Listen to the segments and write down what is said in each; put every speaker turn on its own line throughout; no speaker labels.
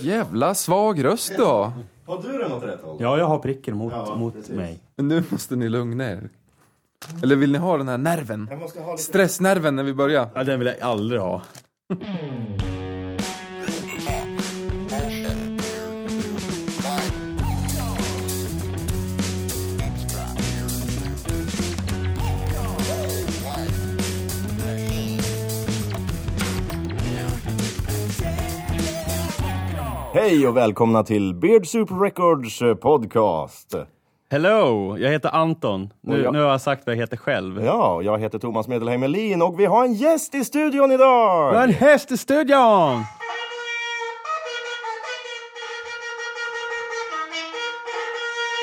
Jävla svag röst då.
Har du den åt rätt håll?
Ja, jag har pricken mot,
Ja,
mot
precis.
mig.
Men nu måste ni lugna er. Eller vill ni ha den här nerven?
Jag måste ha lite...
Stressnerven när vi börjar.
Ja, den vill jag aldrig ha.
Hej och välkomna till Beard Soup Records eh, podcast.
Hello, jag heter Anton. Nu,
Och jag-
nu har jag sagt vad jag heter själv.
Ja, jag heter Thomas Medelheim Elin och vi har en gäst i studion idag!
En häst i studion!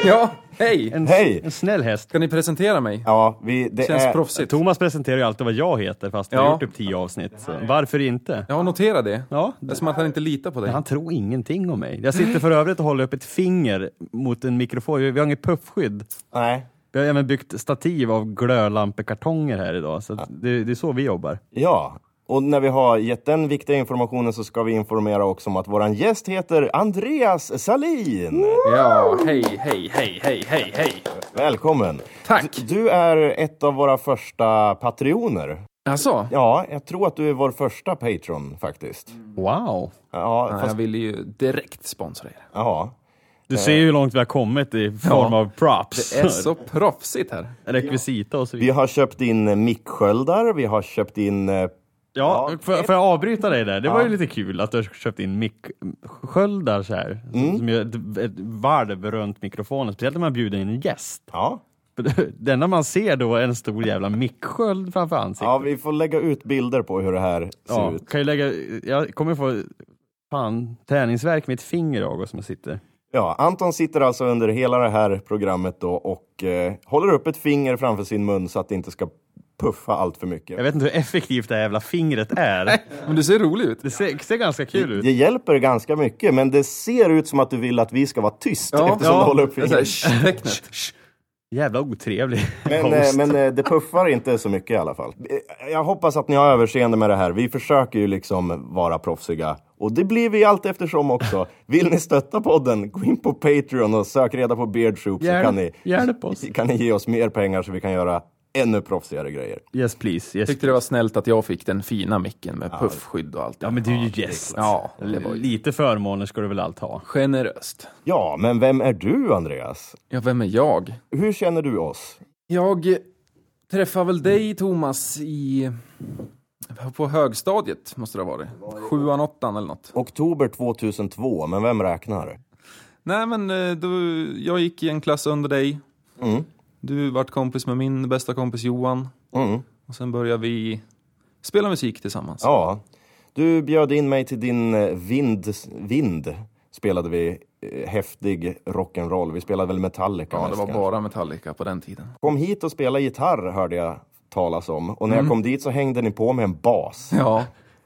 Ja, hej!
En,
Hej!
en snäll häst.
Ska ni presentera mig?
Ja, vi, det
Känns
är...
proffsigt.
Thomas presenterar ju alltid vad jag heter fast vi har
Ja.
gjort typ tio avsnitt. Så. Varför inte?
Jag har noterat det.
Ja,
Det är som att han inte litar på dig.
han tror ingenting om mig. Jag sitter för övrigt och håller upp ett finger mot en mikrofon. Vi har inget puffskydd.
Nej.
Vi har även byggt stativ av glödlampekartonger här idag. Så att det, det är så vi jobbar.
Ja. Och när vi har gett den viktiga informationen så ska vi informera också om att våran gäst heter Andreas Salin.
Ja, hej, hej, hej, hej, hej, hej.
Välkommen!
Tack!
Du är ett av våra första patrioner.
Alltså,
Ja, jag tror att du är vår första Patreon faktiskt.
Wow!
Ja,
jag
fast,
ville ju direkt sponsra er.
ja.
Du ser ju hur långt vi har kommit i form av props.
Det är så proffsigt här.
Rekvisita och så
Vi
vidare.
har köpt in eh, micksköldar, vi har köpt in... eh,
Ja,
Ja.
får, jag- får jag avbryta dig där? Det var ju lite kul att du har köpt in micksköldar så här. Som gör ett, ett varv runt mikrofonen. Speciellt när man bjuder in en gäst.
Ja.
För Det enda man ser då är en stor jävla micksköld framför ansiktet.
ja, vi får lägga ut bilder på hur det här ser
Ja,
ut.
kan ju lägga, jag kommer få fan, träningsvärk med ett finger i ögat som jag sitter.
Ja, Anton sitter alltså under hela det här programmet då och eh, håller upp ett finger framför sin mun så att det inte ska puffa allt för
Jag
mycket.
vet inte hur effektivt det här jävla fingret är.
Men du ser rolig ut.
Det ser, ser ganska kul ut.
Det hjälper ganska mycket, men det ser ut som att du vill att vi ska vara tyst eftersom
ja.
du håller upp
Det är så här,
fingret.
shh, tecknet.
Jävla otrevlig
Men, eh,
host.
men eh, det puffar inte så mycket i alla fall. Eh, Jag hoppas att ni har överseende med det här. Vi försöker ju liksom vara proffsiga. Och det blir vi allt eftersom också. Vill ni stötta podden, gå in på Patreon och sök reda på Beard Soup så
Hjälp-
kan ni,
hjälp oss.
kan ni ge oss mer pengar så vi kan göra ännu proffsigare grejer.
Yes please. Yes.
Tyckte det var snällt att jag fick den fina micken med puffskydd och allt.
Ja men du är ju gäst.
Ja, det var ju
Lite förmåner ska du väl allt ha?
generöst.
Ja, men vem är du Andreas?
Ja, vem är jag?
Hur känner du oss?
Jag träffade väl dig Thomas i... På högstadiet måste det ha varit. Sjuan, åttan eller något.
Oktober 2002, men vem räknar?
Nej men eh, du, jag gick i en klass under dig.
Mm.
Du vart kompis med min bästa kompis Johan.
Mm.
Och sen började vi spela musik tillsammans.
Ja, du bjöd in mig till din eh, vind, vind spelade vi eh, häftig rock'n'roll. Vi spelade väl Metallica
Ja, det
mest
var
kanske.
bara Metallica på den tiden.
Kom hit och spela gitarr hörde jag talas om. Och när
Mm.
jag kom dit så hängde ni på med en bas.
Ja.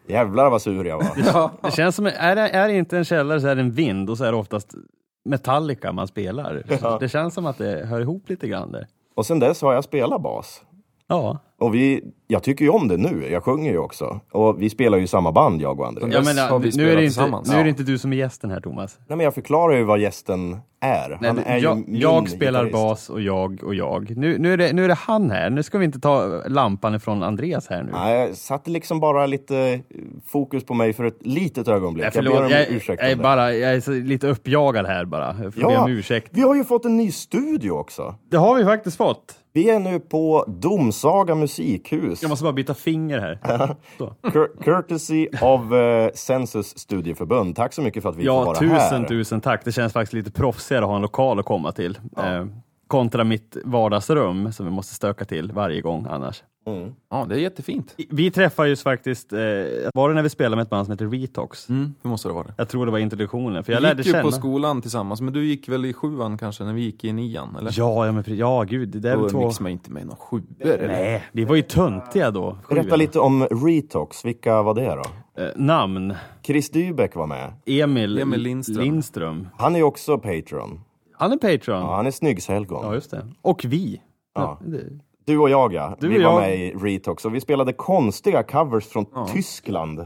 Jävlar vad sur jag var.
ja.
Det känns som, är det, är det inte en källare så är det en vind och så är det oftast Metallica man spelar. Så Det känns som att det hör ihop lite grann där.
Och sen dess har jag spelat bas.
Ja,
Och vi, jag tycker ju om det nu. Jag sjunger ju också. Och vi spelar ju i samma band jag och Andreas.
Ja.
ja
Dess
men
har vi
nu, är
spelat
det inte,
tillsammans.
nu är
Ja.
det inte du som är gästen här Thomas.
Nej, men jag förklarar ju vad gästen är.
Nej,
Han
men
är ju
jag,
min
jag spelar
gitarrist.
bas och jag och jag. Nu, nu, är det, nu är det han här. Nu ska vi inte ta lampan från Andreas här nu.
Nej, jag satte liksom bara lite eh, fokus på mig för ett litet ögonblick.
Nej,
jag
förlåt,
ber om
jag,
ursäkt.
jag, är
om det.
bara, jag är så lite uppjagad här bara. Jag får be om ursäkt.
vi har ju fått en ny studio också.
Det har vi faktiskt fått.
Vi är nu på Domsaga musikhus.
Jag måste bara byta finger här. Så.
Cur- courtesy of eh, Census studieförbund. Tack så mycket för att vi får
Ja,
vara
tusen
här.
tusen tack. Det känns faktiskt lite proffsigare att ha en lokal att komma till. Eh, kontra mitt vardagsrum som vi måste stöka till varje gång annars.
ja, det är jättefint.
I- Vi träffades faktiskt, eh, var det när vi spelade med ett band som heter Retox?
Mm, det måste det vara.
Jag tror det var introduktionen, för jag
Vi
lärde
gick ju
känna...
på skolan tillsammans, men du gick väl i sjuan kanske när vi gick i nian? Eller?
Ja, ja, men, pre- ja, gud, det där är väl
Då
två...
umgicks man inte med någon sjuor. eller?
Nej, vi var ju töntiga då.
Berätta
sjuan.
lite om Retox. Vilka var det då?
Eh, namn.
Chris Dybeck var med.
Emil,
Emil Lindström.
Lindström.
Han är ju också Patreon.
Han är Patreon.
Ja, han är snyggshelgon.
Ja, just det. Och vi.
Ja.
Det-
Du och jag ja,
Du
vi
och
var
jag.
med i Retox och vi spelade konstiga covers från Tyskland.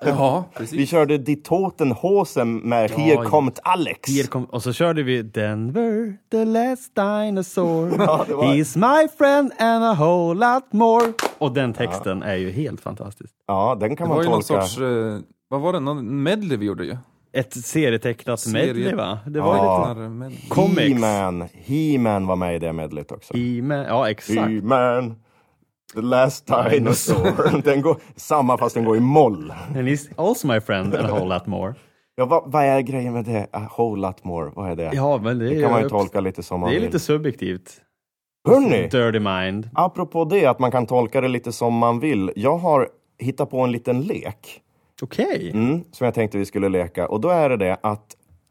Ja,
Vi
precis.
körde Die Toten Hosen med Here
ja.
Kommt Alex.
Here Kom, och så körde vi Denver, the last dinosaur.
det var-
He's my friend and a whole lot more. Och den texten är ju helt fantastisk.
Ja, den kan
Det var
man
ju någon
tolka.
sorts, eh, vad var det, någon medley vi gjorde ju?
Ett serietecknat
Serie-
medley va? Det var
Ja.
ja.
Den här medley.
Comics.
He-Man. He-Man var med i det medlet också.
lite... I med, ja, exakt.
He-Man. The last dinosaur. den går, samma fast den går i moll.
And he's also my friend and a whole lot more. Ja,
Ja, vad, vad är grejen med det? A whole lot more. Vad är det?
men det,
det
är
kan man ju
ju-
tolka lite som Mm. man
Det är
vill.
lite subjektivt.
Hörrni!
Dirty mind.
Apropå det, att man kan tolka det lite som man vill. Jag har hittat på en liten lek
Okej.
mm, som jag tänkte vi skulle leka. Och då är det det att,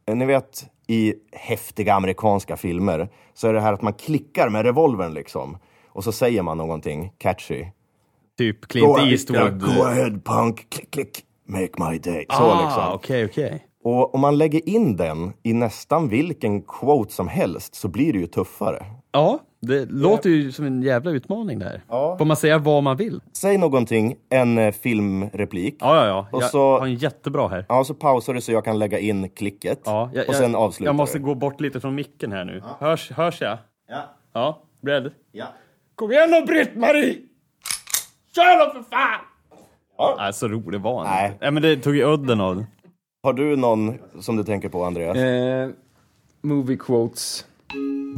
eh, ni vet i häftiga amerikanska filmer så är det här att man klickar med revolvern liksom. Och så säger man någonting catchy.
Typ Clint
ja,
Eastwood.
go ahead punk, klick klick, make my day. Så
ah,
liksom.
Okej, okej.
Och om man lägger in den i nästan vilken quote som helst så blir det ju tuffare.
Ja, det låter ju som en jävla utmaning där. Får man säga vad man vill?
Säg någonting, en eh, filmreplik.
Ja, ja, ja.
Och
Jag
så-
har en jättebra här.
Ja, så pausar du så jag kan lägga in klicket.
Ja, jag,
och sen avslutar
Jag måste
vi.
gå bort lite från micken här nu. Hörs, hörs jag?
Ja,
Ja, beredd?
ja.
Kom igen nu Britt-Marie! Kör då för fan! Nej, så rolig var han
Nej.
inte. Nej, men det tog ju udden av den.
Har du någon som du tänker på, Andreas?
Eh, movie quotes.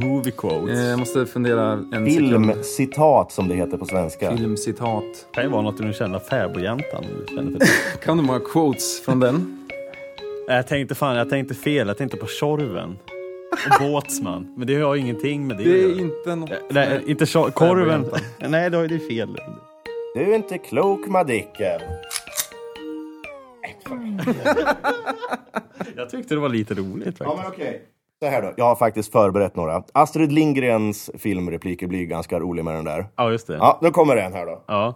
Movie quotes.
Eh, jag måste fundera en sekund.
Filmcitat, som det heter på svenska.
Filmcitat.
Det kan ju vara något ur den kända fäbodjäntan. om du känner för det.
Kan du många quotes från den?
Nej, jag tänkte fan, jag tänkte fel. Jag tänkte på Tjorven. Och Båtsman. Men det har ju ingenting med det,
Det
att
är
göra. Eh,
inte något...
Nej, inte Tjor- korven.
Fäbodjäntan.
Nej, då är det fel.
Du är inte klok, Madicken.
Jag tyckte det var lite roligt faktiskt.
okej. Så här då, jag har faktiskt förberett några. Astrid Lindgrens filmrepliker blir ganska rolig med den där.
Ja, just det.
Ja, nu kommer en här då.
Ja.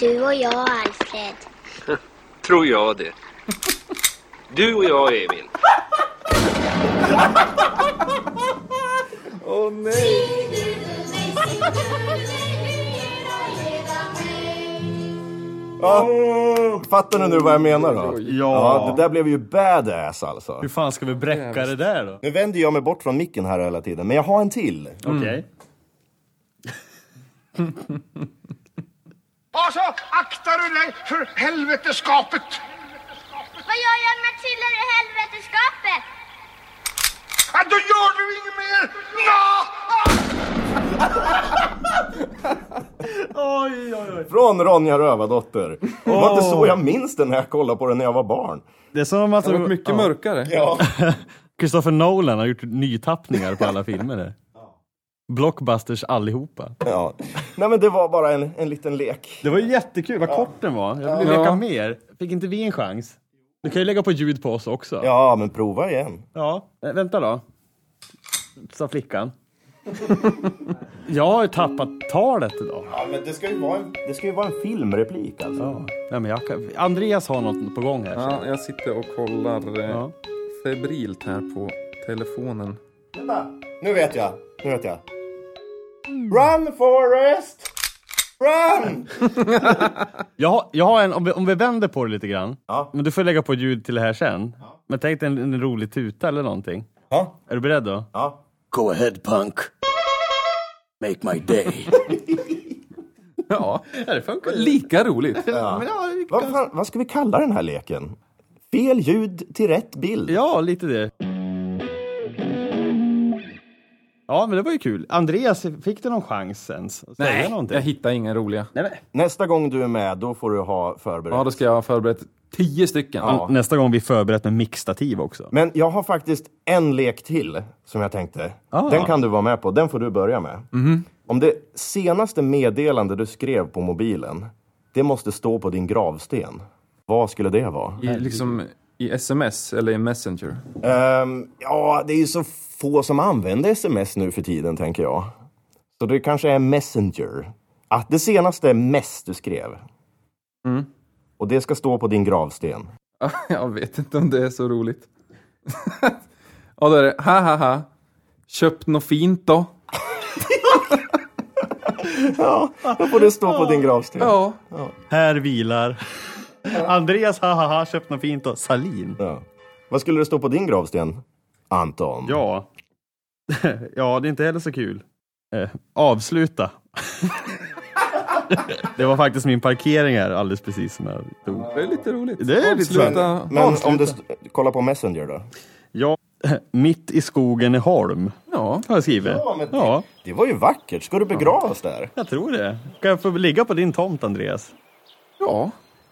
Du och jag, Alfred.
Tror jag det. Du och jag, Emil.
Ja. Fattar ni nu vad jag menar då? Ja, det där blev ju badass alltså.
Hur fan ska vi bräcka det där då?
Nu vänder jag mig bort från micken här hela tiden, men jag har en till.
Okej.
Och så Alltså, aktar du dig för helveteskapet!
Vad gör jag om jag trillar i helveteskapet?
Ja, då gör du inget mer! Nå!
Oj, oj, oj.
Från Ronja Rövardotter. Det var inte så jag minns den när jag kollade på den när jag var barn.
Det är som att
Det har varit mycket mörkare.
Christopher Nolan har gjort nytappningar på alla filmer. där. Blockbusters allihopa.
Ja. Nej men det var bara en, en liten lek.
Det var ju jättekul, vad kort den var. Jag ville
Ja.
leka mer. Fick inte vi en chans? Du kan ju lägga på ljud på oss också.
Ja, men prova igen.
Ja. Äh, vänta då. Sa flickan. jag har ju tappat talet idag.
Ja, men det ska ju vara en, det ska ju vara en filmreplik alltså.
Ja. Nej, men jag kan... Andreas har något på gång här.
Ja, jag sitter och kollar eh,
Ja.
febrilt här på telefonen.
Vänta, nu vet jag. Nu vet jag. Run Forrest! Run!
Jag har, jag har en, om vi, om vi vänder på det lite grann.
Ja.
Men du får lägga på ljud till det här sen. Men tänk dig en, en rolig tuta eller någonting.
Ja.
Är du beredd då?
Ja.
Go ahead, punk. Make my day.
Ja, det funkar. Lika roligt.
Vad, fan, vad ska vi kalla den här leken? Fel ljud till rätt bild.
Ja, lite det. Ja, men det var ju kul. Andreas, fick du någon chans ens? Att säga någonting?
jag hittar inga roliga.
Nej, men...
Nästa gång du är med, då får du ha förberett.
Ja, då ska jag ha förberett tio stycken.
Nästa gång vi förberett med mixtativ också.
Men jag har faktiskt en lek till som jag tänkte.
Ah.
Den kan du vara med på. Den får du börja med. Om det senaste meddelande du skrev på mobilen, det måste stå på din gravsten. Vad skulle det vara?
I, liksom i sms eller i messenger.
Ehm, ja, det är ju så få som använder sms nu för tiden, tänker jag. Så det kanske är Messenger. Att det senaste mest du skrev. Och det ska stå på din gravsten.
Jag vet inte om det är så roligt. ja, då är det ha ha ha. Köpt något fint då?
Ja, då får det stå på din gravsten.
Ja.
Här vilar. Andreas hahaha köpt något fint och Salin.
Ja. Vad skulle det stå på din gravsten, Anton?
Ja. ja, det är inte heller så kul. Eh, avsluta. det var faktiskt min parkering här alldeles precis som jag dog.
Det är lite roligt.
Det är lite
Avsluta.
Men om du st- kollar på Messenger då?
Ja, mitt i skogen i Holm.
Ja.
Har jag skrivit.
Ja, men-
ja,
Det var ju vackert. Ska du begravas där?
jag tror det. Kan jag få ligga på din tomt Andreas?
Ja.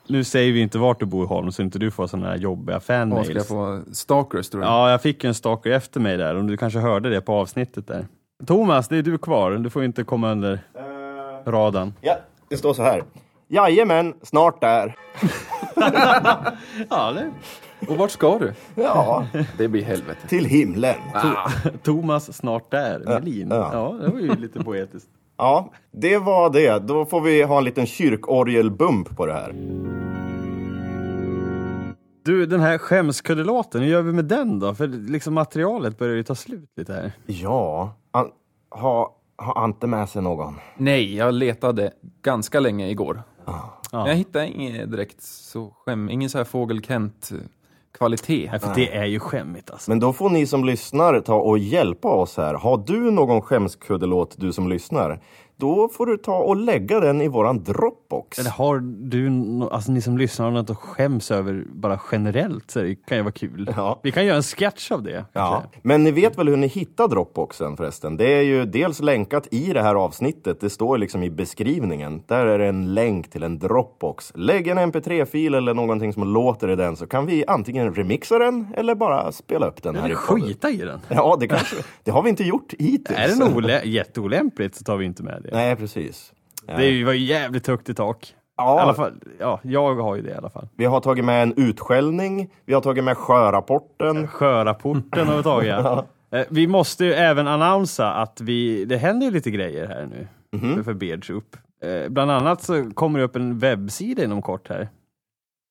Nu säger vi inte vart du bor i Holm så inte du får sådana här jobbiga
Vad ska jag
fanmails.
få? Stalkers tror jag.
Ja, jag fick ju en stalker efter mig där och du kanske hörde det på avsnittet där. Thomas, det är du kvar. Du får inte komma under
Eh.
radarn.
Ja, det står så här. Jajamän, snart där.
Ja, det...
Och vart ska du?
Ja,
Det blir helvete.
till himlen.
Thomas snart där, Melin.
ja.
Ja. det var ju lite poetiskt.
Ja, det var det. Då får vi ha en liten kyrkorgelbump på det här.
Du, den här skämskuddelåten, hur gör vi med den då? För liksom materialet börjar ju ta slut lite här.
Ja, an- ha, ha Ante med sig någon.
Nej, jag letade ganska länge igår. Men jag hittade ingen direkt så skäm, ingen så här fågel Kent kvalitet.
Nej, för det är ju skämmigt alltså.
Men då får ni som lyssnar ta och hjälpa oss här. Har du någon skämskuddelåt, du som lyssnar? Då får du ta och lägga den i våran Dropbox.
Eller har du, nå- alltså ni som lyssnar, har något att skäms över bara generellt så det kan ju vara kul.
Ja.
Vi kan göra en sketch av det.
Ja.
kanske.
Men ni vet väl hur ni hittar Dropboxen förresten? Det är ju dels länkat i det här avsnittet. Det står liksom i beskrivningen. Där är det en länk till en Dropbox. Lägg en mp3-fil eller någonting som låter i den så kan vi antingen remixa den eller bara spela upp den här
Eller
i podden.
skita i den.
Ja, det kanske Det har vi inte gjort hittills.
Är den olä- jätteolämpligt så tar vi inte med det.
Nej, precis.
Det är ju- var ju jävligt högt i tak.
Ja.
I alla fall, ja, jag har ju det i alla fall.
Vi har tagit med en utskällning. Vi har tagit med sjörapporten.
Sjörapporten har vi tagit. ja. Eh, Vi måste ju även annonsa att vi, det händer ju lite grejer här nu för- för Beards upp. Eh, Bland annat så kommer det upp en webbsida inom kort här.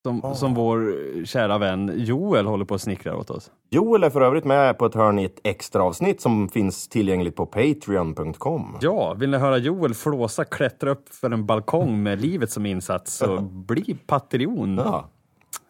Som, som vår kära vän Joel håller på och snickrar åt oss.
Joel är för övrigt med på ett hörn i ett extra avsnitt som finns tillgängligt på patreon.com.
Ja, vill ni höra Joel flåsa, klättra upp för en balkong med livet som insats så bli Patreon.
Ja.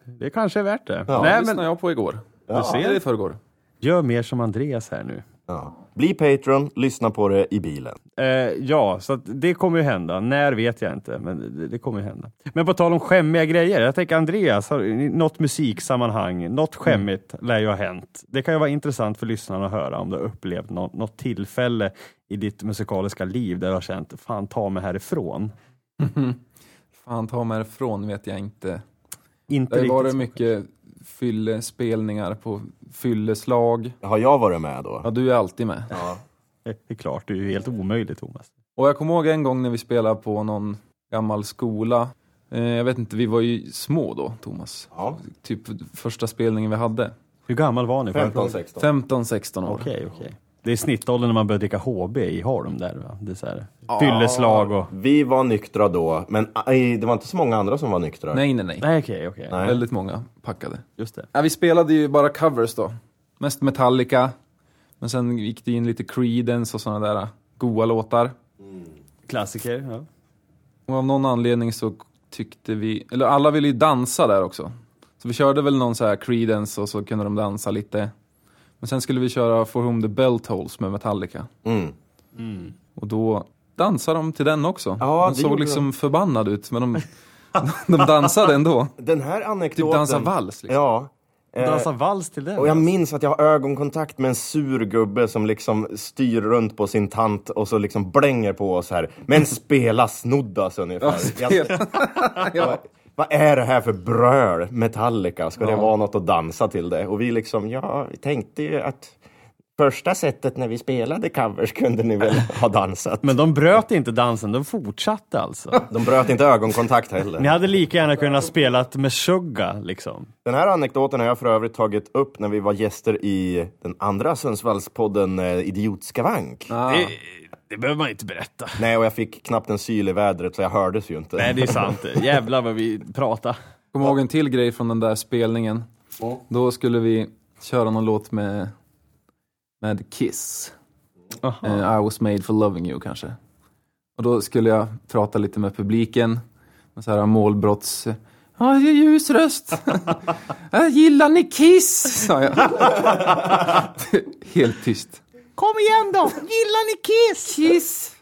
Det kanske är värt det.
Det
Nej, men
lyssnade jag på igår.
du ser,
Eller i förrgår.
gör mer som Andreas här nu.
Ja. Bli Patreon, lyssna på det i bilen.
Eh, ja, så att det kommer ju hända. När vet jag inte, men det, det kommer ju hända. Men på tal om skämmiga grejer, jag tänker Andreas, har, i något musiksammanhang, något skämmigt lär ju ha hänt. Det kan ju vara intressant för lyssnarna att höra om du har upplevt något, något tillfälle i ditt musikaliska liv där du har känt, fan ta mig härifrån.
Fan ta mig ifrån vet jag inte.
Inte
Det var det
riktigt.
mycket fyllespelningar på fylleslag.
Har jag varit med
Ja,
då?
du är alltid med.
Eh, Det är klart, det är ju helt omöjligt Thomas.
Och jag kommer ihåg en gång när vi spelade på någon gammal skola. Eh, jag vet inte, vi var ju små då, Thomas.
Ja.
Typ första spelningen vi hade.
Hur gammal var ni?
15, 16.
15-16 år.
Okej, okej. Det är snittåldern när man börjar dricka HB i Holm där va? Det är så här, fylleslag och...
Vi var nyktra då, men aj, det var inte så många andra som var nyktra.
Nej, nej, nej.
Nej, okej, okej.
Nej.
Väldigt många packade.
Just det.
Ja, vi spelade ju bara covers då. Mest Metallica. Men sen gick det in lite Creedence och sådana där ah, goa låtar.
Klassiker. Ja.
Och av någon anledning så tyckte vi, eller alla ville ju dansa där också. Så vi körde väl någon så här Creedence och så kunde de dansa lite. Men sen skulle vi köra For Whom The Bell Tolls med Metallica.
Mm.
Och då dansade de till den också.
Ja,
de
det
såg
gjorde
liksom förbannade ut men de, de dansade ändå.
Den här
Typ
anekdoten...
dansa vals liksom.
Ja. Eh,
Dansa vals till den.
och jag minns att jag har ögonkontakt med en sur gubbe som liksom styr runt på sin tant och så liksom blänger på oss här. Men spela snoddas ungefär. Jag,
ja.
vad är det här för bröl? Metallica, ska det vara något att dansa till det? Och vi liksom, ja, vi tänkte ju att första sättet när vi spelade covers kunde ni väl ha dansat.
Men de bröt inte dansen, de fortsatte alltså.
De bröt inte ögonkontakt
Ni
heller.
hade lika gärna kunnat spelat med Suga liksom.
Den här anekdoten har jag för övrigt tagit upp när vi var gäster i den andra Sundsvallspodden eh, Idiotskavank.
Det, det behöver man inte berätta.
Nej, och jag fick knappt en syl i vädret så jag hördes ju inte.
Nej, det är sant. Jävlar vad vi pratar.
Kommer ihåg en till grej från den där spelningen. Då skulle vi köra någon låt med, med Kiss.
Aha.
Eh, I was made for loving you kanske. Och då skulle jag prata lite med publiken. Med så här målbrotts... Ja, det är ljus röst. "Ja, Gillar ni Kiss? sa jag. Helt tyst. Kom igen då! Gillar ni Kiss? Kiss!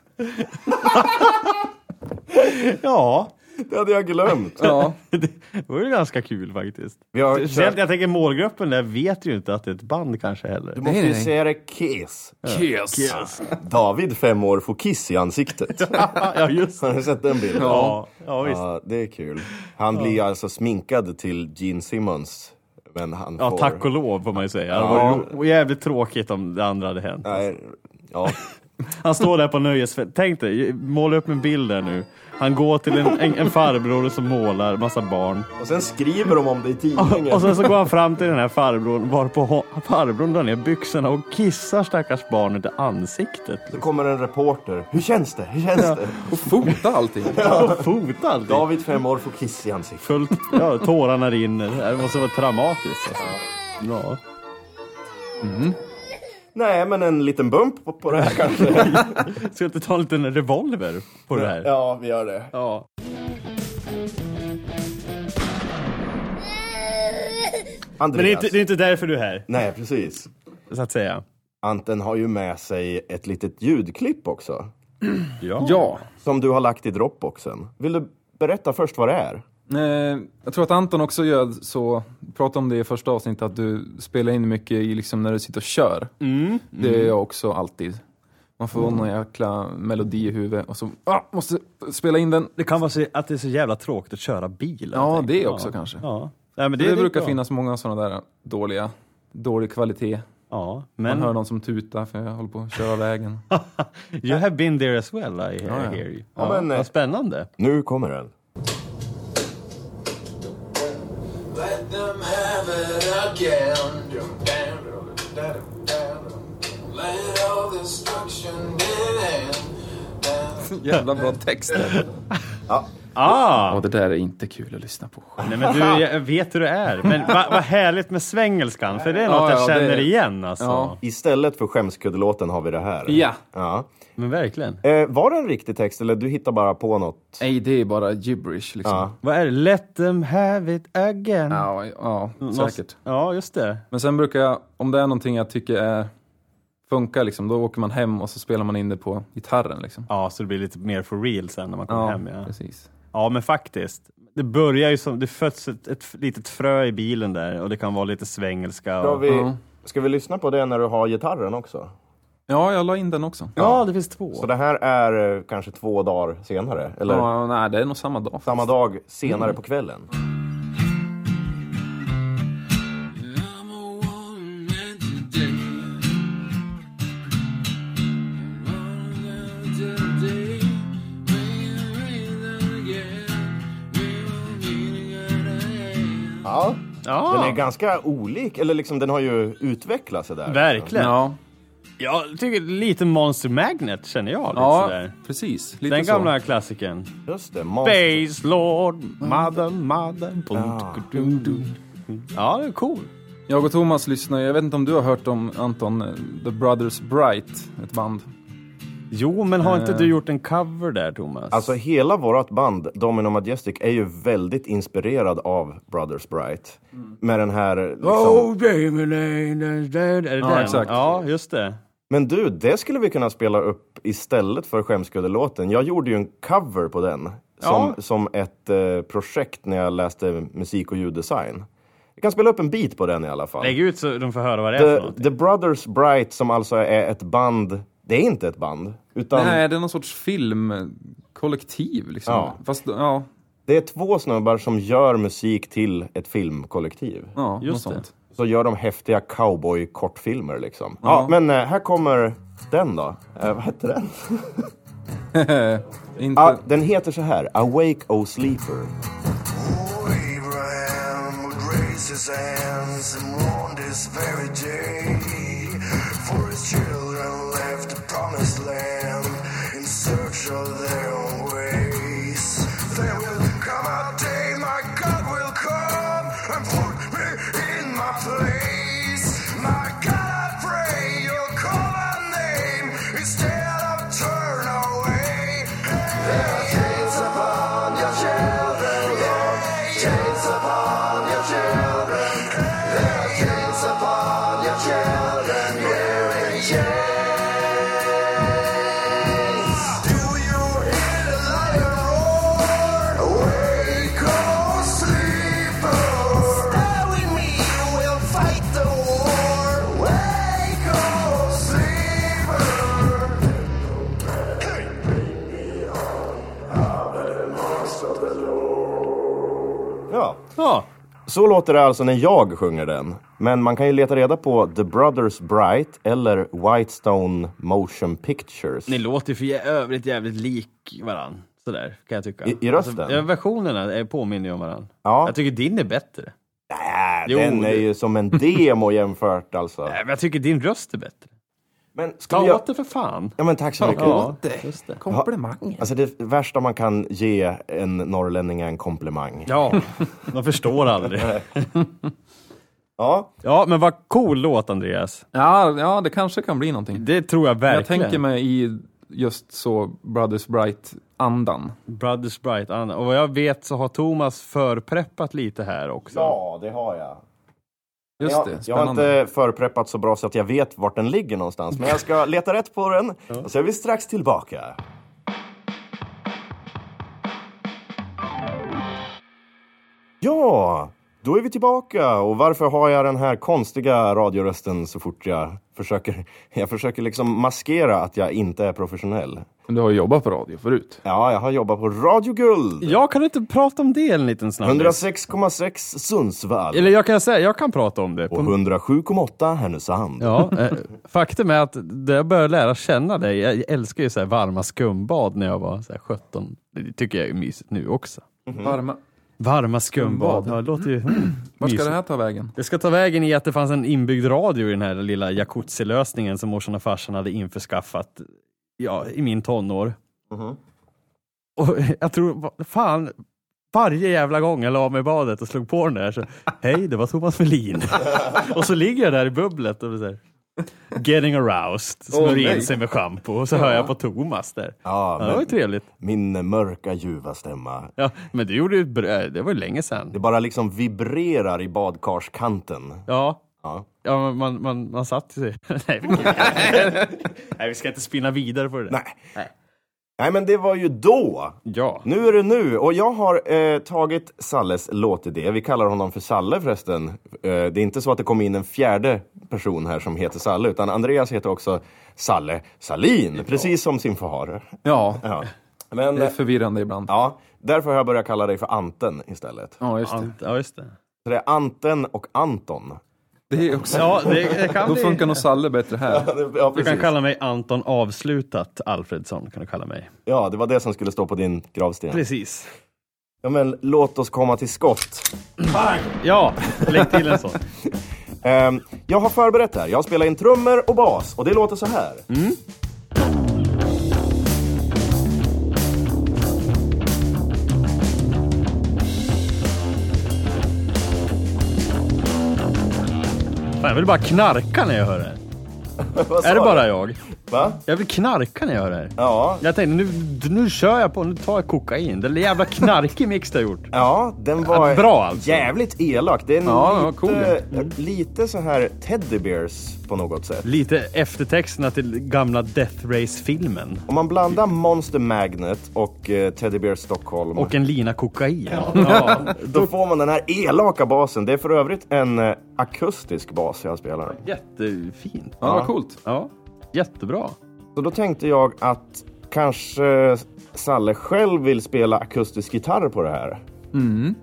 Ja,
Det hade jag glömt.
Ja.
det var ju ganska kul faktiskt.
Vi har
Speciellt,
kört,
jag tänker målgruppen där vet ju inte att det är ett band kanske heller.
du måste
Nej,
ju
nej.
säga det Kiss.
Kiss.
David, fem år, får kiss i ansiktet.
Ja, just det.
Har du sett den bilden?
Ja, ja visst.
Ja, det är kul. Han blir alltså sminkad till Gene Simmons. Men han
Ja,
får...
tack och lov får man ju säga. Det
Ja.
var ju jävligt tråkigt om det andra hade hänt.
Nej, ja.
Han står där på nöjesfält. Tänk dig, måla upp en bild där nu. Han går till en, en, en farbror som målar, massa barn.
Och sen skriver de om det i tidningen.
Och sen så går han fram till den här farbrorn, varpå hon- farbrorn drar ner byxorna och kissar stackars barnet i ansiktet.
Då kommer en reporter. Hur känns det? Hur känns det?
Och fota allting.
Och fotar allting.
David, fem år, får kiss i ansiktet.
Fullt, ja, tårarna rinner. Det måste vara traumatiskt. Alltså. Ja.
Nej, men en liten bump på, på det här kanske.
Ska du inte ta en liten revolver på det här?
Ja, vi gör det.
Ja.
Andreas.
Men det är, inte, det är inte därför du är här,
Nej, precis.
så att säga.
Anten har ju med sig ett litet ljudklipp också.
Ja.
Ja.
Som du har lagt i Dropboxen. Vill du berätta först vad det är?
Eh, jag tror att Anton också gör så, pratade om det i första avsnittet, att du spelar in mycket i, liksom, när du sitter och kör.
Mm,
Det gör jag också alltid. Man får någon jäkla melodi i huvudet och så ah, måste spela in den.
Det kan vara så att det är så jävla tråkigt att köra bil.
Ja,
helt enkelt.
det också kanske.
Ja. Nej, men
Det,
det, är
brukar
bra.
finnas många sådana där dåliga, dålig kvalitet.
Ja,
Man
men
hör någon som tutar för jag håller på att köra vägen.
you have been there as well, I hear
ja.
you.
Ja,
Ja,
men, eh,
vad spännande.
Nu kommer den.
Let them have it again. Let all destruction in.
Jävla bra text.
Ah!
Ja, det där är inte kul att lyssna på.
Nej, men du, jag vet hur du är. Men vad vad härligt med svängelskan, för det är något
Ja, ja,
jag känner
det-
igen alltså.
Ja.
Istället för skämskuddelåten har vi det här.
Ja.
ja.
Men verkligen.
Eh, var det en riktig text eller du hittar bara på något?
Nej, det är bara gibberish liksom.
Ja.
Vad är det? Let them have it again.
Ja, ja,
Något-
säkert.
Ja, just det.
Men sen brukar jag, om det är någonting jag tycker är, funkar liksom, då åker man hem och så spelar man in det på gitarren liksom.
Ja, så det blir lite mer for real sen när man kommer hem. Ja.
precis.
ja, men faktiskt. Det börjar ju som, det föds ett, ett litet frö i bilen där och det kan vara lite svängelska.
Ska
Och...
vi,
Ja.
ska vi lyssna på det när du har gitarren också?
Ja, jag la in den också.
Ja, det finns två.
Så det här är eh, kanske två dagar senare? Eller
Ja, nej, det är nog samma dag.
samma dag senare på kvällen?
I'm a one man today. One man today. Rain, rain again. We will meet again.
Ja. Den
ja.
är ganska olik, eller liksom den har ju utvecklat sig där.
Verkligen.
Ja,
Jag tycker lite Monster Magnet känner jag. Lite
ja
sådär.
precis. Lite
Den
så.
gamla klassikern.
Just det, Monster.
Base Lord, Mother, Mother. Ja, ja det är cool.
Jag och Thomas lyssnar ju- jag vet inte om du har hört om Anton, eh, The Brothers Bright, ett band.
Jo, men har inte
Eh.
du gjort en cover där, Thomas?
Alltså hela vårt band, Domino Majestic, är ju väldigt inspirerad av Brothers Bright.
Mm.
Med den här liksom...
Oh, baby, lady, dead. Är det
Ja,
den?
exakt.
Ja, just det.
Men du, det skulle vi kunna spela upp istället för Skämskuddelåten. Jag gjorde ju en cover på den. Som,
Ja.
som ett eh, projekt när jag läste musik och ljuddesign. Jag kan spela upp en bit på den i alla fall.
Lägg ut så de får höra vad det är för
The,
något.
The Brothers Bright som alltså är ett band. Det är inte ett band. Utan
Nej, det är någon sorts filmkollektiv liksom.
Ja.
Fast, ja,
det är två snubbar som gör musik till ett filmkollektiv.
ja något
Just det.
sånt.
Så gör de häftiga cowboy-kortfilmer liksom. Ja, men eh, här kommer den då. Eh, vad heter den?
Inte,
Ah, den heter så här. Awake O Sleeper.
Oh, Abraham would raise his hands and mourn this very day. For his children left the promised land in search of their own ways. There will come a day my God will come and put me in my place. My God, I pray you'll call my name instead of turn away. oh, oh,
Så låter det alltså när jag sjunger den. Men man kan ju leta reda på The Brothers Bright eller Whitestone Motion Pictures.
Ni låter för i övrigt jävligt lik varann. Sådär, kan jag tycka.
I- i rösten?
Alltså, ja, versionerna är- påminner ju om varann.
Ja.
Jag tycker din är bättre.
Äh,
Jo,
den är
det-
ju som en demo jämfört alltså.
Nej, men jag tycker din röst är bättre.
Men ska vi
Ta
göra...
åt det för fan.
Ja men tack så mycket.
Ja.
Komplimang.
Alltså det värsta man kan ge en norrlänning är en komplimang.
Ja, de förstår aldrig.
Ja,
Ja, men vad cool låt Andreas.
Ja, ja, det kanske kan bli någonting.
Det tror jag
Jag
verkligen.
tänker mig i just så Brothers Bright-andan.
Brothers Bright Anna. Och vad jag vet så har Thomas förpreppat lite här också.
ja det har jag.
Just
Jag,
det,
jag har
spännande.
inte förpreppat så bra så att jag vet vart den ligger någonstans. Men jag ska leta rätt på den och så är vi strax tillbaka. Ja, då är vi tillbaka. Och varför har jag den här konstiga radiorösten så fort jag försöker? Jag försöker liksom maskera att jag inte är professionell.
Men Du har ju jobbat på radio förut.
Ja, jag har jobbat på Radio Guld.
Jag kan inte prata om det en liten snabbis.
106,6 Sundsvall
Eller jag kan säga, jag kan prata om det.
och
På...
107,8 Härnösand.
Ja, eh, faktum är att det jag började lära känna dig, jag älskar ju så här varma skumbad när jag var så här 17. Det tycker jag är mysigt nu också.
Mhm.
Varma.
Varma skumbad, ja, det låter ju mm,
Vart ska
mysigt.
det här ta vägen?
Det ska ta vägen i att det fanns en inbyggd radio i den här lilla jacuzzi-lösningen som morsan och farsan hade införskaffat ja, i min tonår.
Mhm.
Och jag tror, va- fan, varje jävla gång jag la mig i badet och slog på den där så, hej det var Thomas Melin. och så ligger jag där i bubblet och så här, getting aroused, smörjer in sig med schampo och så hör jag på Thomas där.
Ja,
det var ju
men-
trevligt.
Min mörka ljuva stämma.
Ja, men du gjorde ju, ett bra- det var ju länge sedan.
Det bara liksom vibrerar i badkarskanten.
Ja.
Ja.
Ja, men man, man, man satt sig. Nej, vi, Nej, vi ska inte spinna vidare på det där.
Nej. Nej men det var ju då.
Ja.
Nu är det nu och jag har eh, tagit Salles låtidé. Vi kallar honom för Salle förresten. Eh, det är inte så att det kom in en fjärde person här som heter Salle utan Andreas heter också Salle Salin. Precis som sin far.
Ja,
Ja. Men,
det är förvirrande ibland.
ja, därför har jag börjat kalla dig för Anten istället.
Ja, just det.
Ant, ja, just det.
Så det är Anten och Anton.
det är också...
Ja, det, det kan
Då
bli.
funkar nog Salle bättre här.
Ja,
Du kan
precis.
kalla mig Anton Avslutat Alfredsson. Kan du kalla mig.
ja, det var det som skulle stå på din gravsten.
Precis.
Ja, men låt oss komma till skott.
Ja, lägg till en sån.
Ehm, jag har förberett det här. Jag har spelat in trummor och bas och det låter så här.
Mm. Fan, jag vill bara knarka när jag hör det här.
Vad sa
Är det
du?
bara jag?
Va?
Jag vill knarka när jag hör det här.
Ja,
Jag tänkte, nu, nu kör jag på, nu tar jag kokain. Det är en jävla knarkig mix du har gjort.
ja, den var
Bra alltså.
jävligt elak. Den är
Ja, den var
lite,
cool.
Mm.
lite så här Teddy Bears på något sätt.
Lite eftertexterna till gamla Death Race-filmen.
Om man blandar Monster Magnet och eh, Teddy Bears Stockholm
Och en lina kokain. Ja.
då får man den här elaka basen. Det är för övrigt en eh, akustisk bas jag spelar.
Jättefint.
Ja, vad coolt.
Ja, jättebra.
Så då tänkte jag att kanske Salle själv vill spela akustisk gitarr på det här.
Mm.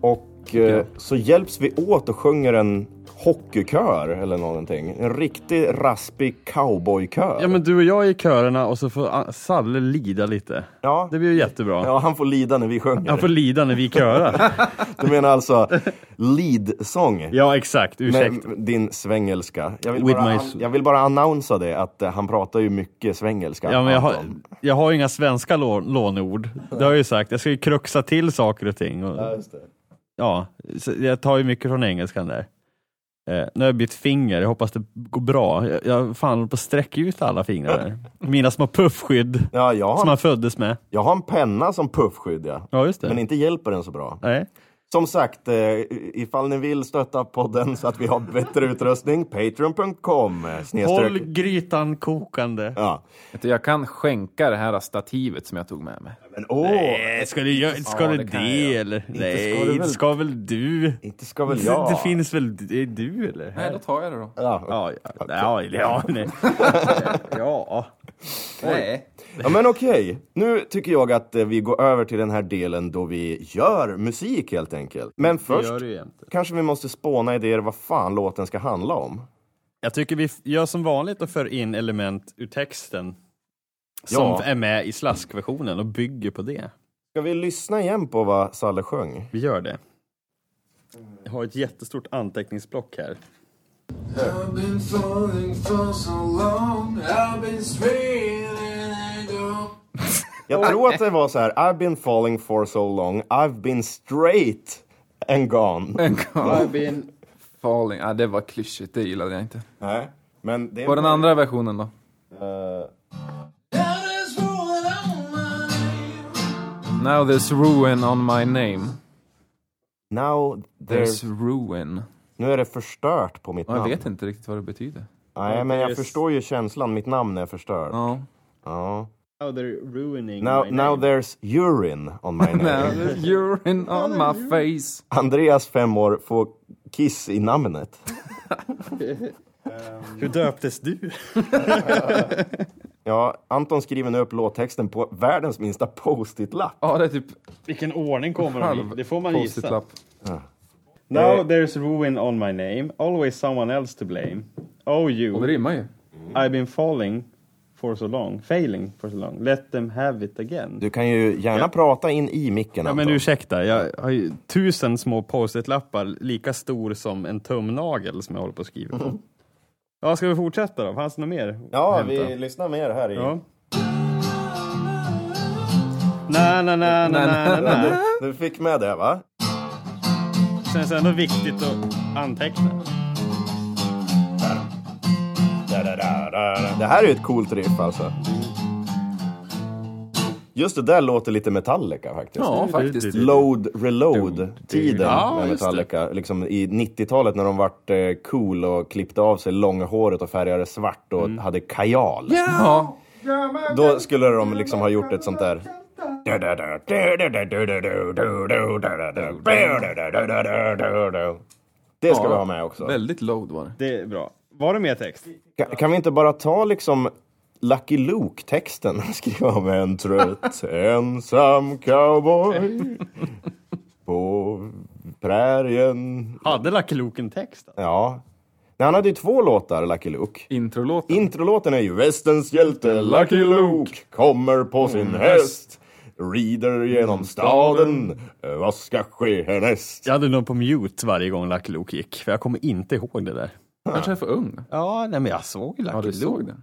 Och eh, så hjälps vi åt och sjunger en hockeykör eller någonting. En riktig raspig cowboykör.
Ja, men du och jag är i körerna och så får A- Salle lida lite.
Ja.
Det blir ju jättebra.
Ja, han får lida när vi sjunger.
Han får lida när vi körar.
Du menar alltså leadsång?
ja, exakt.
Med
Ursäkta.
din svengelska. Jag vill,
With
bara,
my
an-
s-
jag vill bara annonsa det att eh, han pratar ju mycket svengelska.
Ja, men jag, har,
Anton.
jag har ju inga svenska lå- lånord. Det har jag ju sagt. Jag ska ju kruxa till saker och ting. Och, ja, så jag tar ju mycket från engelskan där. Eh, nu har jag bytt finger. Jag hoppas det går bra. Jag, jag fan håller på att sträcka ut alla fingrar där. Mina små puffskydd
Ja, jag,
som
har,
man föddes med.
jag har en penna som puffskydd, ja.
Ja, just
Men
det.
inte hjälper den så bra.
Nej.
Som sagt, eh, ifall ni vill stötta podden så att vi har bättre utrustning, patreon.com eh,
Håll
snedstreck.
grytan kokande.
Ja.
Vet du, Jag kan skänka det här stativet som jag tog med mig.
Men åh,
Nej, Eh, ska du, gö- ska
Ja,
du
det
det,
kan jag göra.
eller?
ska du
Nej,
väl-
inte ska väl du?
inte ska väl
Det,
jag?
det finns väl det är du eller?
Nej, då tar jag det då.
Ja.
Ja, ja, ja, ja, nej. ja.
Nej.
Ja men okej, nu tycker jag att eh, vi går över till den här delen då vi gör musik helt enkelt. Men först
gör det ju jämt.
kanske vi måste spåna idéer vad fan låten ska handla om.
Jag tycker vi f- gör som vanligt och för in element ur texten som
Ja.
är med i slaskversionen och bygger på det.
Ska vi lyssna igen på vad Salle sjöng?
Vi gör det. Jag har ett jättestort anteckningsblock här.
I've been falling for so long, I've been straining it up.
Jag tror att det var så här, I've been falling for so long, I've been straight and gone.
En gång. Falling. Ah, det var klyschigt, det gillade jag inte.
Nej, men det
Vad är den andra versionen då?
Eh,
Now there's rolling on my
Now there's ruin on my name.
now
There's
there's...
ruin.
Nu är det förstört på mitt
Ja, Jag
namn.
vet inte riktigt vad det betyder.
Nej, men jag
There's-
förstår ju känslan, mitt namn är förstört.
Ja.
Ja.
Now they're ruining
Now, now there's urine on my
Now
name.
there's urine on my face.
Andreas, fem år, får kiss i namnet.
Hur döptes du?
Ja, Anton skriver nu upp låttexten på världens minsta post-it-lapp.
Ja, det är typ
Vilken ordning kommer de i?
halv
Det får man gissa.
post-it-lapp.
Now there's ruin on my name, always someone else to blame. Oh
Och det
you,
rimmar ju.
I've been falling for so long, failing for so long, let them have it again.
Du kan ju gärna prata in i micken,
Ja,
Anton.
men ursäkta, jag har ju tusen små post-it-lappar lika stor som en tumnagel som jag håller på att skriva på. Ja, ska vi fortsätta då? Fanns det något mer? att
Mm. ja
hämta?
vi lyssnar mer här i...
Ja. Na, na, na, na, na, na, na.
Du fick med det, va?
Känns ändå viktigt att anteckna.
Det här är ju ett coolt riff, alltså. Just det där låter lite Metallica, faktiskt.
Ja, faktiskt.
Load reload-tiden
Ja,
med
just
Metallica. Liksom I 90-talet när de vart eh, cool och klippte av sig långhåret och färgade det svart och hade kajal.
Ja.
Då skulle de liksom ha gjort ett sånt där... Det ska vi ha med också.
Väldigt load var det.
Det är bra. Var det mer text?
Ka- Kan vi inte bara ta liksom Lucky Luke-texten och skriva om en trött ensam cowboy på prärien?
Hade Lucky Luke en text? då?
Ja. Nej, han hade ju två låtar, Lucky Luke.
Introlåten.
Introlåten är ju Västens hjälte Lucky Luke kommer på sin häst Rider genom staden, vad ska ske härnäst?
Jag hade nog på mute varje gång Lucky Luke gick, för jag kommer inte ihåg det där.
Kanske är för ung.
Ja, nej, men jag såg Lucky
Ja, du såg den.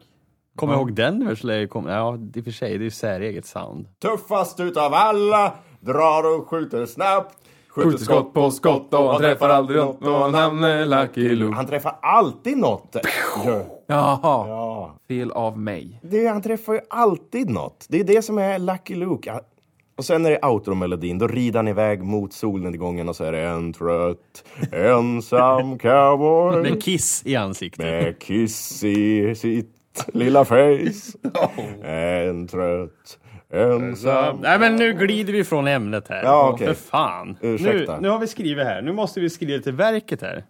Kommer jag ihåg Denver Slayer? Kom, ja, i och för sig, det är ju säreget sound.
Tuffast utav alla, drar och skjuter snabbt
Skjuter skott på skott och han träffar aldrig något och han hamnar Lucky Luke.
Han träffar alltid något!
Jaha.
Ja.
Fel av mig.
Det, han träffar ju alltid något. Det är det som är Lucky Luke. Ja. Och sen är det outro-melodin. Då rider han iväg mot solnedgången och så är det en trött ensam cowboy
Med kiss i ansiktet.
Med kiss i sitt lilla face En trött ensam
Nej men nu glider vi från ämnet här.
Ja, okej.
För fan.
Ursäkta.
Nu, nu har vi skrivit här, nu måste vi skriva till verket här.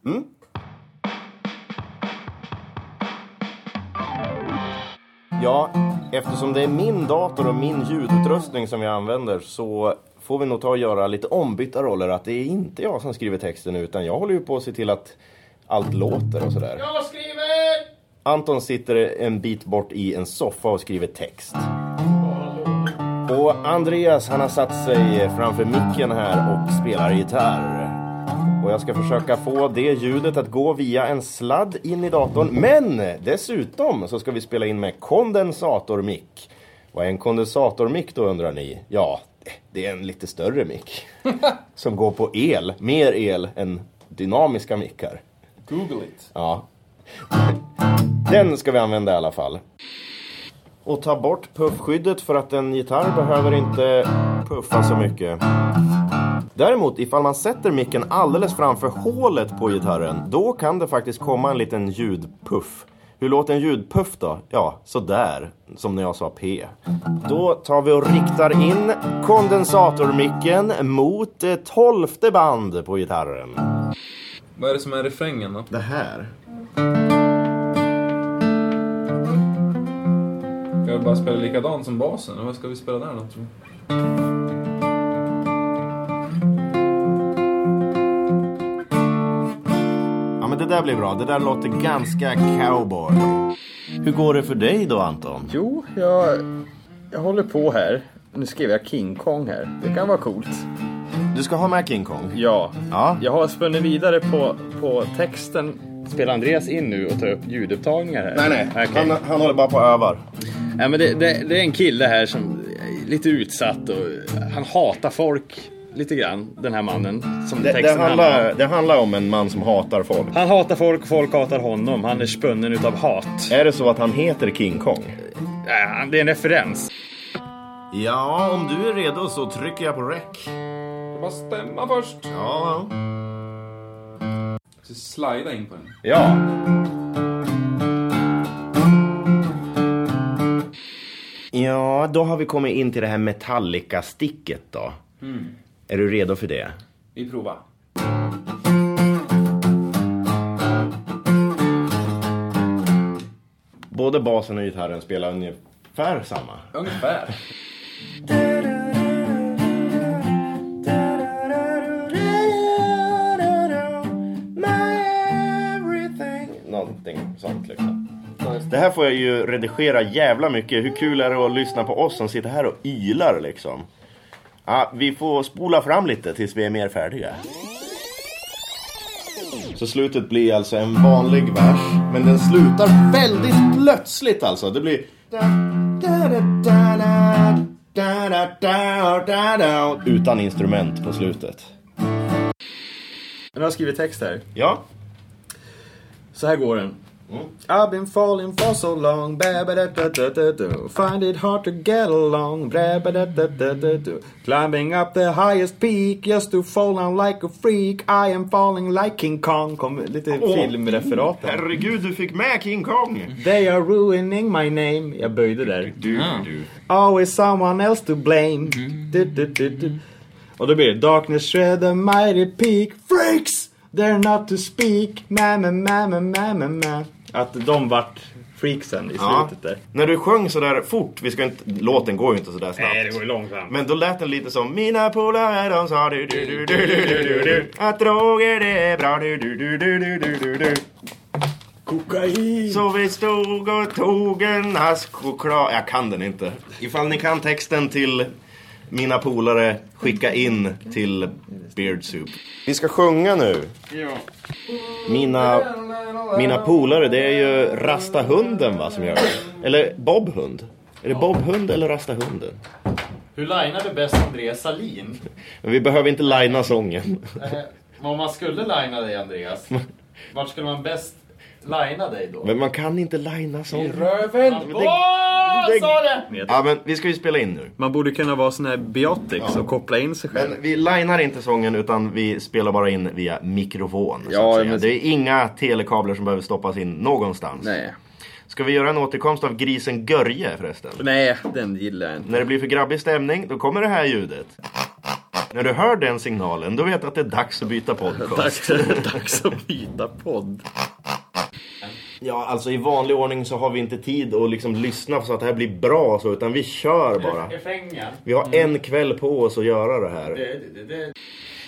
Ja, eftersom det är min dator och min ljudutrustning som vi använder så får vi nog ta och göra lite ombytta roller. Att det är inte jag som skriver texten utan jag håller ju på att se till att allt låter och sådär. Jag skriver! Anton sitter en bit bort i en soffa och skriver text. Och Andreas han har satt sig framför micken här och spelar gitarr. Och jag ska försöka få det ljudet att gå via en sladd in i datorn. Men dessutom så ska vi spela in med kondensatormick. Vad är en kondensatormick då undrar ni? Ja, det är en lite större mick. som går på el, mer el än dynamiska mickar.
Google it.
Ja. Den ska vi använda i alla fall. Och ta bort puffskyddet för att en gitarr behöver inte puffa så mycket. Däremot ifall man sätter micken alldeles framför hålet på gitarren då kan det faktiskt komma en liten ljudpuff. Hur låter en ljudpuff då? Ja, sådär. Som när jag sa P. Då tar vi och riktar in kondensatormicken mot eh, tolfte band på gitarren.
Vad är det som är refrängen då?
Det här.
Jag väl bara spela likadant som basen. Eller Vad ska vi spela där då? tror du?
Ja men det där blir bra. Det där låter ganska cowboy. Hur går det för dig då Anton?
Jo, jag, jag håller på här. Nu skrev jag King Kong här. Det kan vara coolt.
Du ska ha med King Kong?
Ja.
Ja.
Jag har spunnit vidare på, på texten. Spelar Andreas in nu och tar upp ljudupptagningar här?
Nej nej,
Okej.
han, han håller bara på och övar.
Nej, men det, det, det är en kille här som är lite utsatt och han hatar folk lite grann, den här mannen. Som
Det, det,
texten handlar
handlar,
om.
det handlar om en man som hatar folk.
Han hatar folk och folk hatar honom. Han är spunnen utav hat.
Är det så att han heter King Kong?
Äh, han- Det är en referens.
Ja, om du är redo så trycker jag på rec.
Jag bara stämma först.
Ja.
Jag ska slida in på den.
Ja. Ja, då har vi kommit in till det här Metallica-sticket då. Mm. Är du redo för det?
Vi provar.
Både basen och gitarren spelar ungefär samma.
Ungefär.
Någonting sånt liksom. Det här får jag ju redigera jävla mycket. Hur kul är det att lyssna på oss som sitter här och ylar liksom? Ja, vi får spola fram lite tills vi är mer färdiga. Så slutet blir alltså en vanlig vers, men den slutar väldigt plötsligt alltså. Det blir... Utan instrument på slutet.
Nu har jag skrivit text här.
Ja,
Så här går den. I've been falling for so long ba-ba-da-da-da-da-do. Find it hard to get along ba-ba-da-da-da-da-do. Climbing up the highest peak just to fall on like a freak I am falling like King Kong Kom, Lite filmreferat där.
herregud du fick med King Kong!
They are ruining my name Jag böjde där. Always someone else to blame du, du, du, du. Och då blir det Darkness shred the mighty peak Freaks! They're not to speak ma ma ma ma ma ma ma Att de vart freaksen i
Ja.
slutet där.
När du sjöng sådär fort, vi ska inte, låten går ju inte sådär snabbt.
långsamt.
Men då lät den lite som Mina polare de sa du du du du du du du du Att droger det är bra du du du du du du du du
Kokain!
Så vi stod och tog en ask choklad Jag kan den inte. Ifall ni kan texten till Mina polare, skicka in till Beard Soup. Vi ska sjunga nu. Mina, mina polare, det är ju Rasta hunden va som gör det? Eller Bob Hund? Är det Bob Hund eller Rasta hunden?
Hur linar du bäst Andreas Salin? Eh,
Men vi behöver inte lina sången.
Om man skulle lina dig Andreas, vart skulle man bäst lina dig då?
Men man kan inte lina sången.
Röven!
Det... Ja men vi ska ju spela in nu.
Man borde kunna vara sån här biotics och koppla in sig själv.
Men vi linar inte sången utan vi spelar bara in via mikrofon. Så
Ja,
att säga.
men-
Det är inga telekablar som behöver stoppas in någonstans.
Nej.
Ska vi göra en återkomst av grisen Görje förresten?
Nej, den gillar jag inte.
När det blir för grabbig stämning, då kommer det här ljudet. När du hör den signalen, då vet du att det är dags att byta podcast.
Dags, dags att byta podd.
Ja, alltså i vanlig ordning så har vi inte tid att liksom lyssna så att det här blir bra så, utan vi kör bara. Vi har en kväll på oss att göra Mm. det här.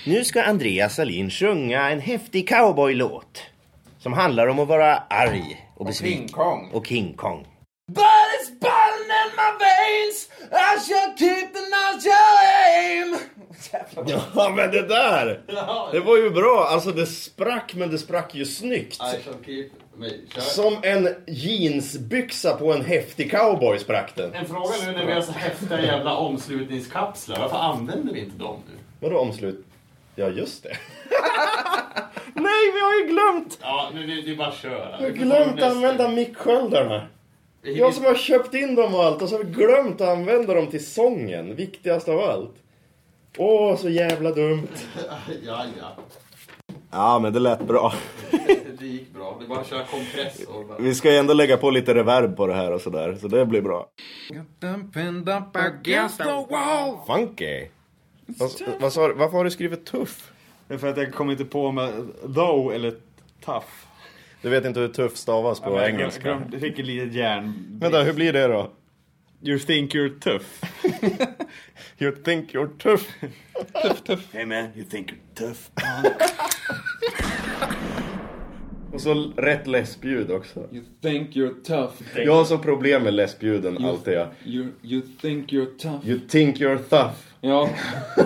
Nu ska Andreas Salin sjunga en häftig cowboylåt. Som handlar om att vara arg och besviken. Och King Kong. Och King Kong. Ja men det där! Det var ju bra. Alltså det sprack men det sprack ju snyggt. Som en jeansbyxa på en häftig cowboy sprack den.
En fråga nu när vi har så häftiga jävla omslutningskapslar. Varför använder vi inte dem nu?
Vadå omslut? Ja just det. Nej vi har ju glömt!
Ja, nu, nu, det är bara att köra.
Jag har glömt att använda micksköldarna. Jag som har köpt in dem och allt och så har jag glömt att använda dem till sången. Viktigast av allt. Åh så jävla dumt.
Ja, ja.
Ja men det lät bra.
Det gick bra. Det är bara att köra kompress och bara...
Vi ska ju ändå lägga på lite reverb på det här och sådär. Så det blir bra. Funky. Vad, vad sa, du- varför har du skrivit tuff?
Det är för att jag kommer inte på med though eller tough.
Du vet inte hur tuff stavas på
Jag
engelska.
glömde- fick ett litet järn.
Vänta, hur blir det då?
You think you're tough.
You think you're tough.
Hey man, you think you're tough.
Och så rätt läspljud också.
You think you're tough.
Jag har så problem med läspljuden alltid. jag.
You, you think you're tough.
You think you're tough.
Ja.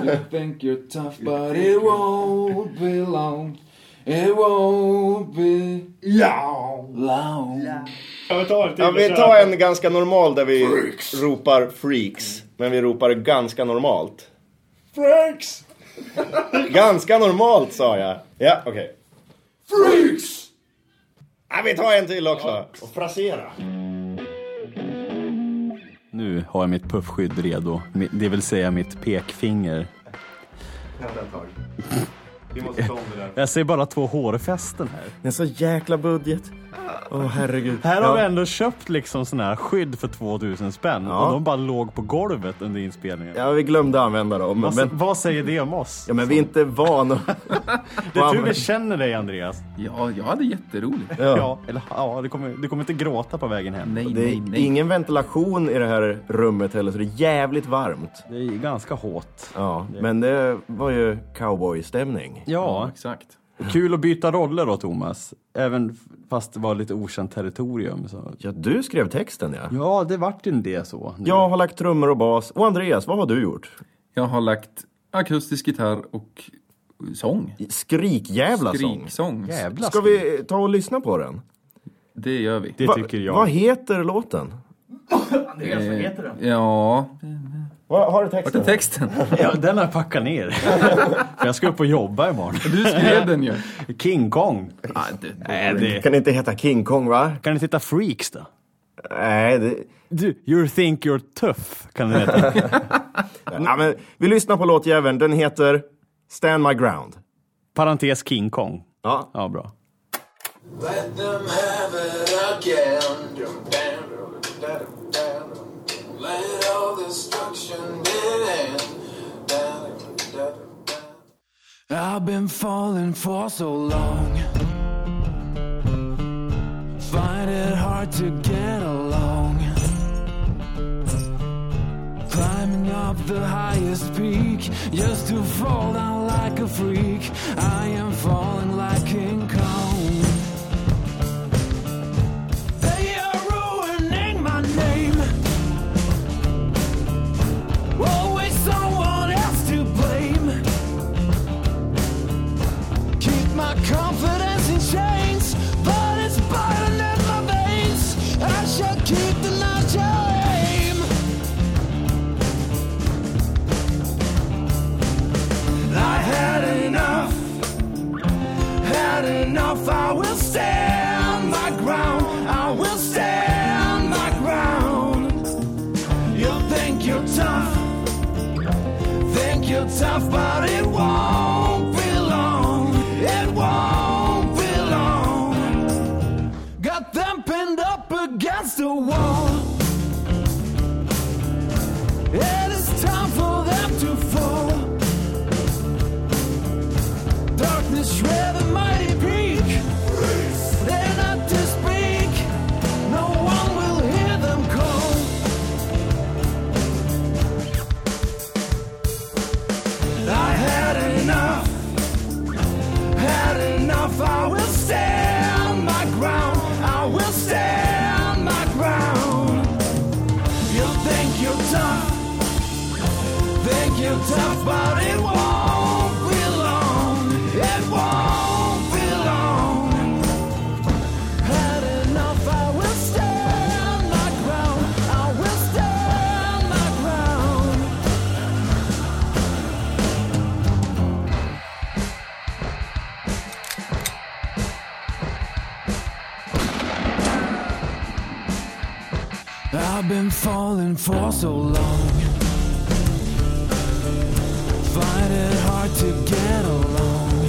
You think you're tough but it won't be long. It won't be long.
Ska vi ta en till
Ja,
och
vi
köra?
tar en ganska normal där vi ropar freaks. Men vi ropar det ganska normalt. Freaks! ganska normalt sa jag. Ja, okej. Freaks! Ja, vi tar en till också.
Och frasera.
Nu har jag mitt puffskydd redo, Mi- det vill säga mitt pekfinger.
Vi måste ta om det där.
Jag ser bara två hårfästen här.
Det är så jäkla budget. Åh herregud.
Här har
Ja.
vi ändå köpt liksom sån här skydd för 2000 spänn
Ja.
och de bara låg på golvet under inspelningen.
Ja, vi glömde använda dem.
Vad,
Men,
vad säger det om oss?
ja, men vi är inte vana.
det är tur
men-
vi känner dig Andreas.
Ja, jag hade jätteroligt.
Ja.
Ja. eller, ja, du, kommer, du kommer inte gråta på vägen hem.
Nej,
Det
nej,
är
nej.
ingen ventilation i det här rummet heller, så det är jävligt varmt.
Det är ganska hårt.
Ja, men det var ju cowboystämning.
Ja,
Exakt.
kul att byta roller då Thomas. Även f- fast det var lite okänt territorium. Så.
Ja, du skrev texten ja.
Ja, det vart en det så.
Jag har lagt trummor och bas. Och Andreas, vad har du gjort?
Jag har lagt akustisk gitarr och sång.
Skrikjävla sång.
Skriksång.
Jävla
Ska
skrik.
vi ta och lyssna på den?
Det gör vi.
Det tycker jag.
Vad heter låten?
Ja,
Vad har du
vart är
texten?
texten?
Ja, den har jag packat ner. För jag ska upp och jobba imorgon.
Du skrev den ju.
King Kong.
Ah, du.
Nej, det...
Kan det inte heta King Kong va?
Kan du titta Freaks då?
Nej, det...
Du, you think you're tough, kan det heta.
Ja, men vi lyssnar på låtjäveln. Den heter Stand My Ground.
Parentes King Kong.
Ja.
Ja, bra.
Let them have it again. Let all destruction be an end. I've been falling for so long. Find it hard to get along. Climbing up the highest peak just to fall down like a freak. I am falling like King Kong. They are ruining my name. Always someone else to blame. Keep my confidence in chains, but it's burning in my veins. I shall keep the natural aim. I had enough had enough. I will stand my ground. I will stand my ground. You think you're tough, think you're tough, but it won't be long. It won't be long. Got them pinned up against the wall. It is time for them to fall. Darkness shred the mighty peak. They're not to speak. No one will hear them call. I had enough. Had enough. I will stand my ground. I will stand my ground. You think you're tough think you're tough, but it won't be long. It won't be long. Had enough, I will stand my ground. I will stand my ground. I've been falling for so long. Find it hard to get along.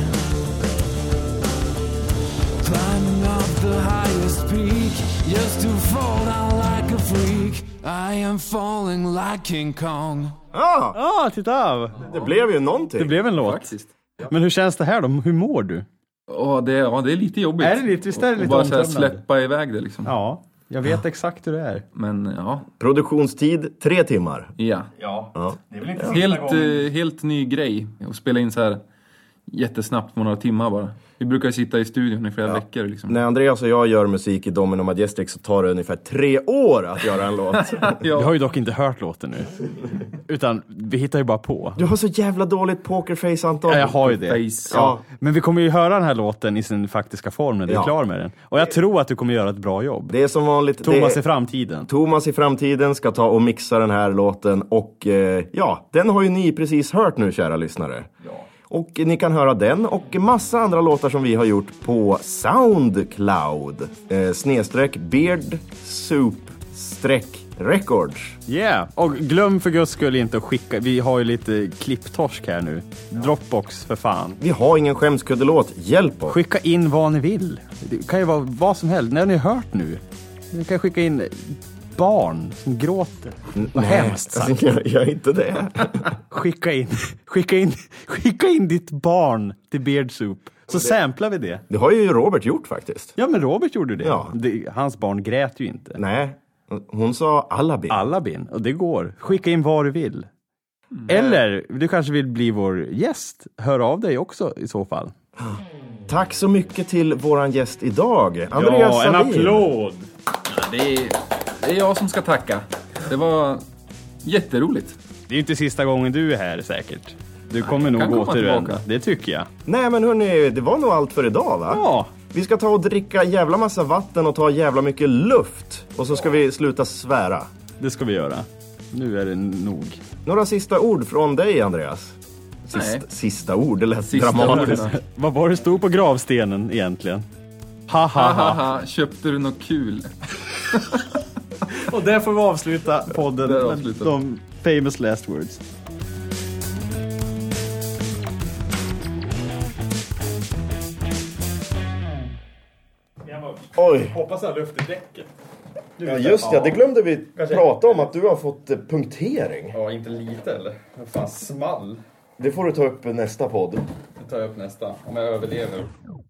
Climbing up the highest peak just to fall down like a freak. I am falling like King Kong.
Ja,
Ja, titta!
Ah, det blev ju någonting.
Det blev en låt.
Faktiskt.
Men hur känns det här då? Hur mår du?
Ja, det, ja, det är lite jobbigt.
Är det lite- visst är det
Och-
lite
och bara så här
omtumlande?
släppa iväg det liksom.
Ja. Jag vet exakt hur det är.
Men ja,
Produktionstid tre timmar.
ja.
Ja.
Ja.
Det är väl inte första
Helt,
gången.
eh, helt ny grej att spela in så här jättesnabbt på några timmar bara. Vi brukar ju sitta i studion i flera veckor liksom.
När Andreas och jag gör musik i Domino Majestic så tar det ungefär tre år att göra en låt.
Ja.
Vi har ju dock inte hört låten nu. Utan vi hittar ju bara på.
Du har så jävla dåligt pokerface Anton.
Ja, jag har ju det.
Face.
Ja.
Men vi kommer ju höra den här låten i sin faktiska form när du är
Ja.
klar med den. Och jag tror att du kommer göra ett bra jobb.
Det är som vanligt.
Thomas
det...
i framtiden.
Thomas i framtiden ska ta och mixa den här låten och eh, ja, den har ju ni precis hört nu kära lyssnare. Och ni kan höra den och massa andra låtar som vi har gjort på Soundcloud. Eh, snedstreck Beard Soup streck Records.
Yeah! Och glöm för guds skull inte att skicka, vi har ju lite klipptorsk här nu. Dropbox för fan.
Vi har ingen skämskuddelåt, hjälp oss.
Skicka in vad ni vill. Det kan ju vara vad som helst. När ni har hört nu. Ni kan skicka in barn som gråter. Vad hemskt sagt.
Alltså, jag gör inte det.
Skicka in, skicka in, skicka in ditt barn till Beard Soup. Så samplar vi det.
Det har ju Robert gjort faktiskt.
Ja, men Robert gjorde det.
Ja.
det hans barn grät ju inte.
Nej, hon sa Alabi.
Alla bin, och det går. Skicka in vad du vill.
Mm.
Eller, du kanske vill bli vår gäst? Hör av dig också i så fall.
Tack så mycket till våran gäst idag, Andreas
en
Salin.
applåd!
Det, är, det är jag som ska tacka. Det var jätteroligt.
Det är ju inte sista gången du är här säkert. Du kommer nog
kan komma
återvända,
tillbaka.
det tycker jag.
Nej men hörni, det var nog allt för idag va?
Ja,
Vi ska ta och dricka jävla massa vatten och ta jävla mycket luft. Och så ska vi sluta svära.
det ska vi göra. Nu är det nog.
Några sista ord från dig Andreas?
Nej.
Sist, sista ord, det lät
Sista
dramatiskt.
orden.
Vad var det stod på gravstenen egentligen? Ha, ha, ha.
Haha, köpte du något kul?
Och där får vi avsluta podden
Där
med
avslutar vi.
de famous last words.
Oj,
Hoppas jag har luft i däcket.
ja, just ja, det glömde vi prata om att du har fått eh, punktering.
Ja, inte lite eller? Vad fan, small.
Det får du ta upp i nästa podd.
Nu tar jag upp nästa, om jag överlever.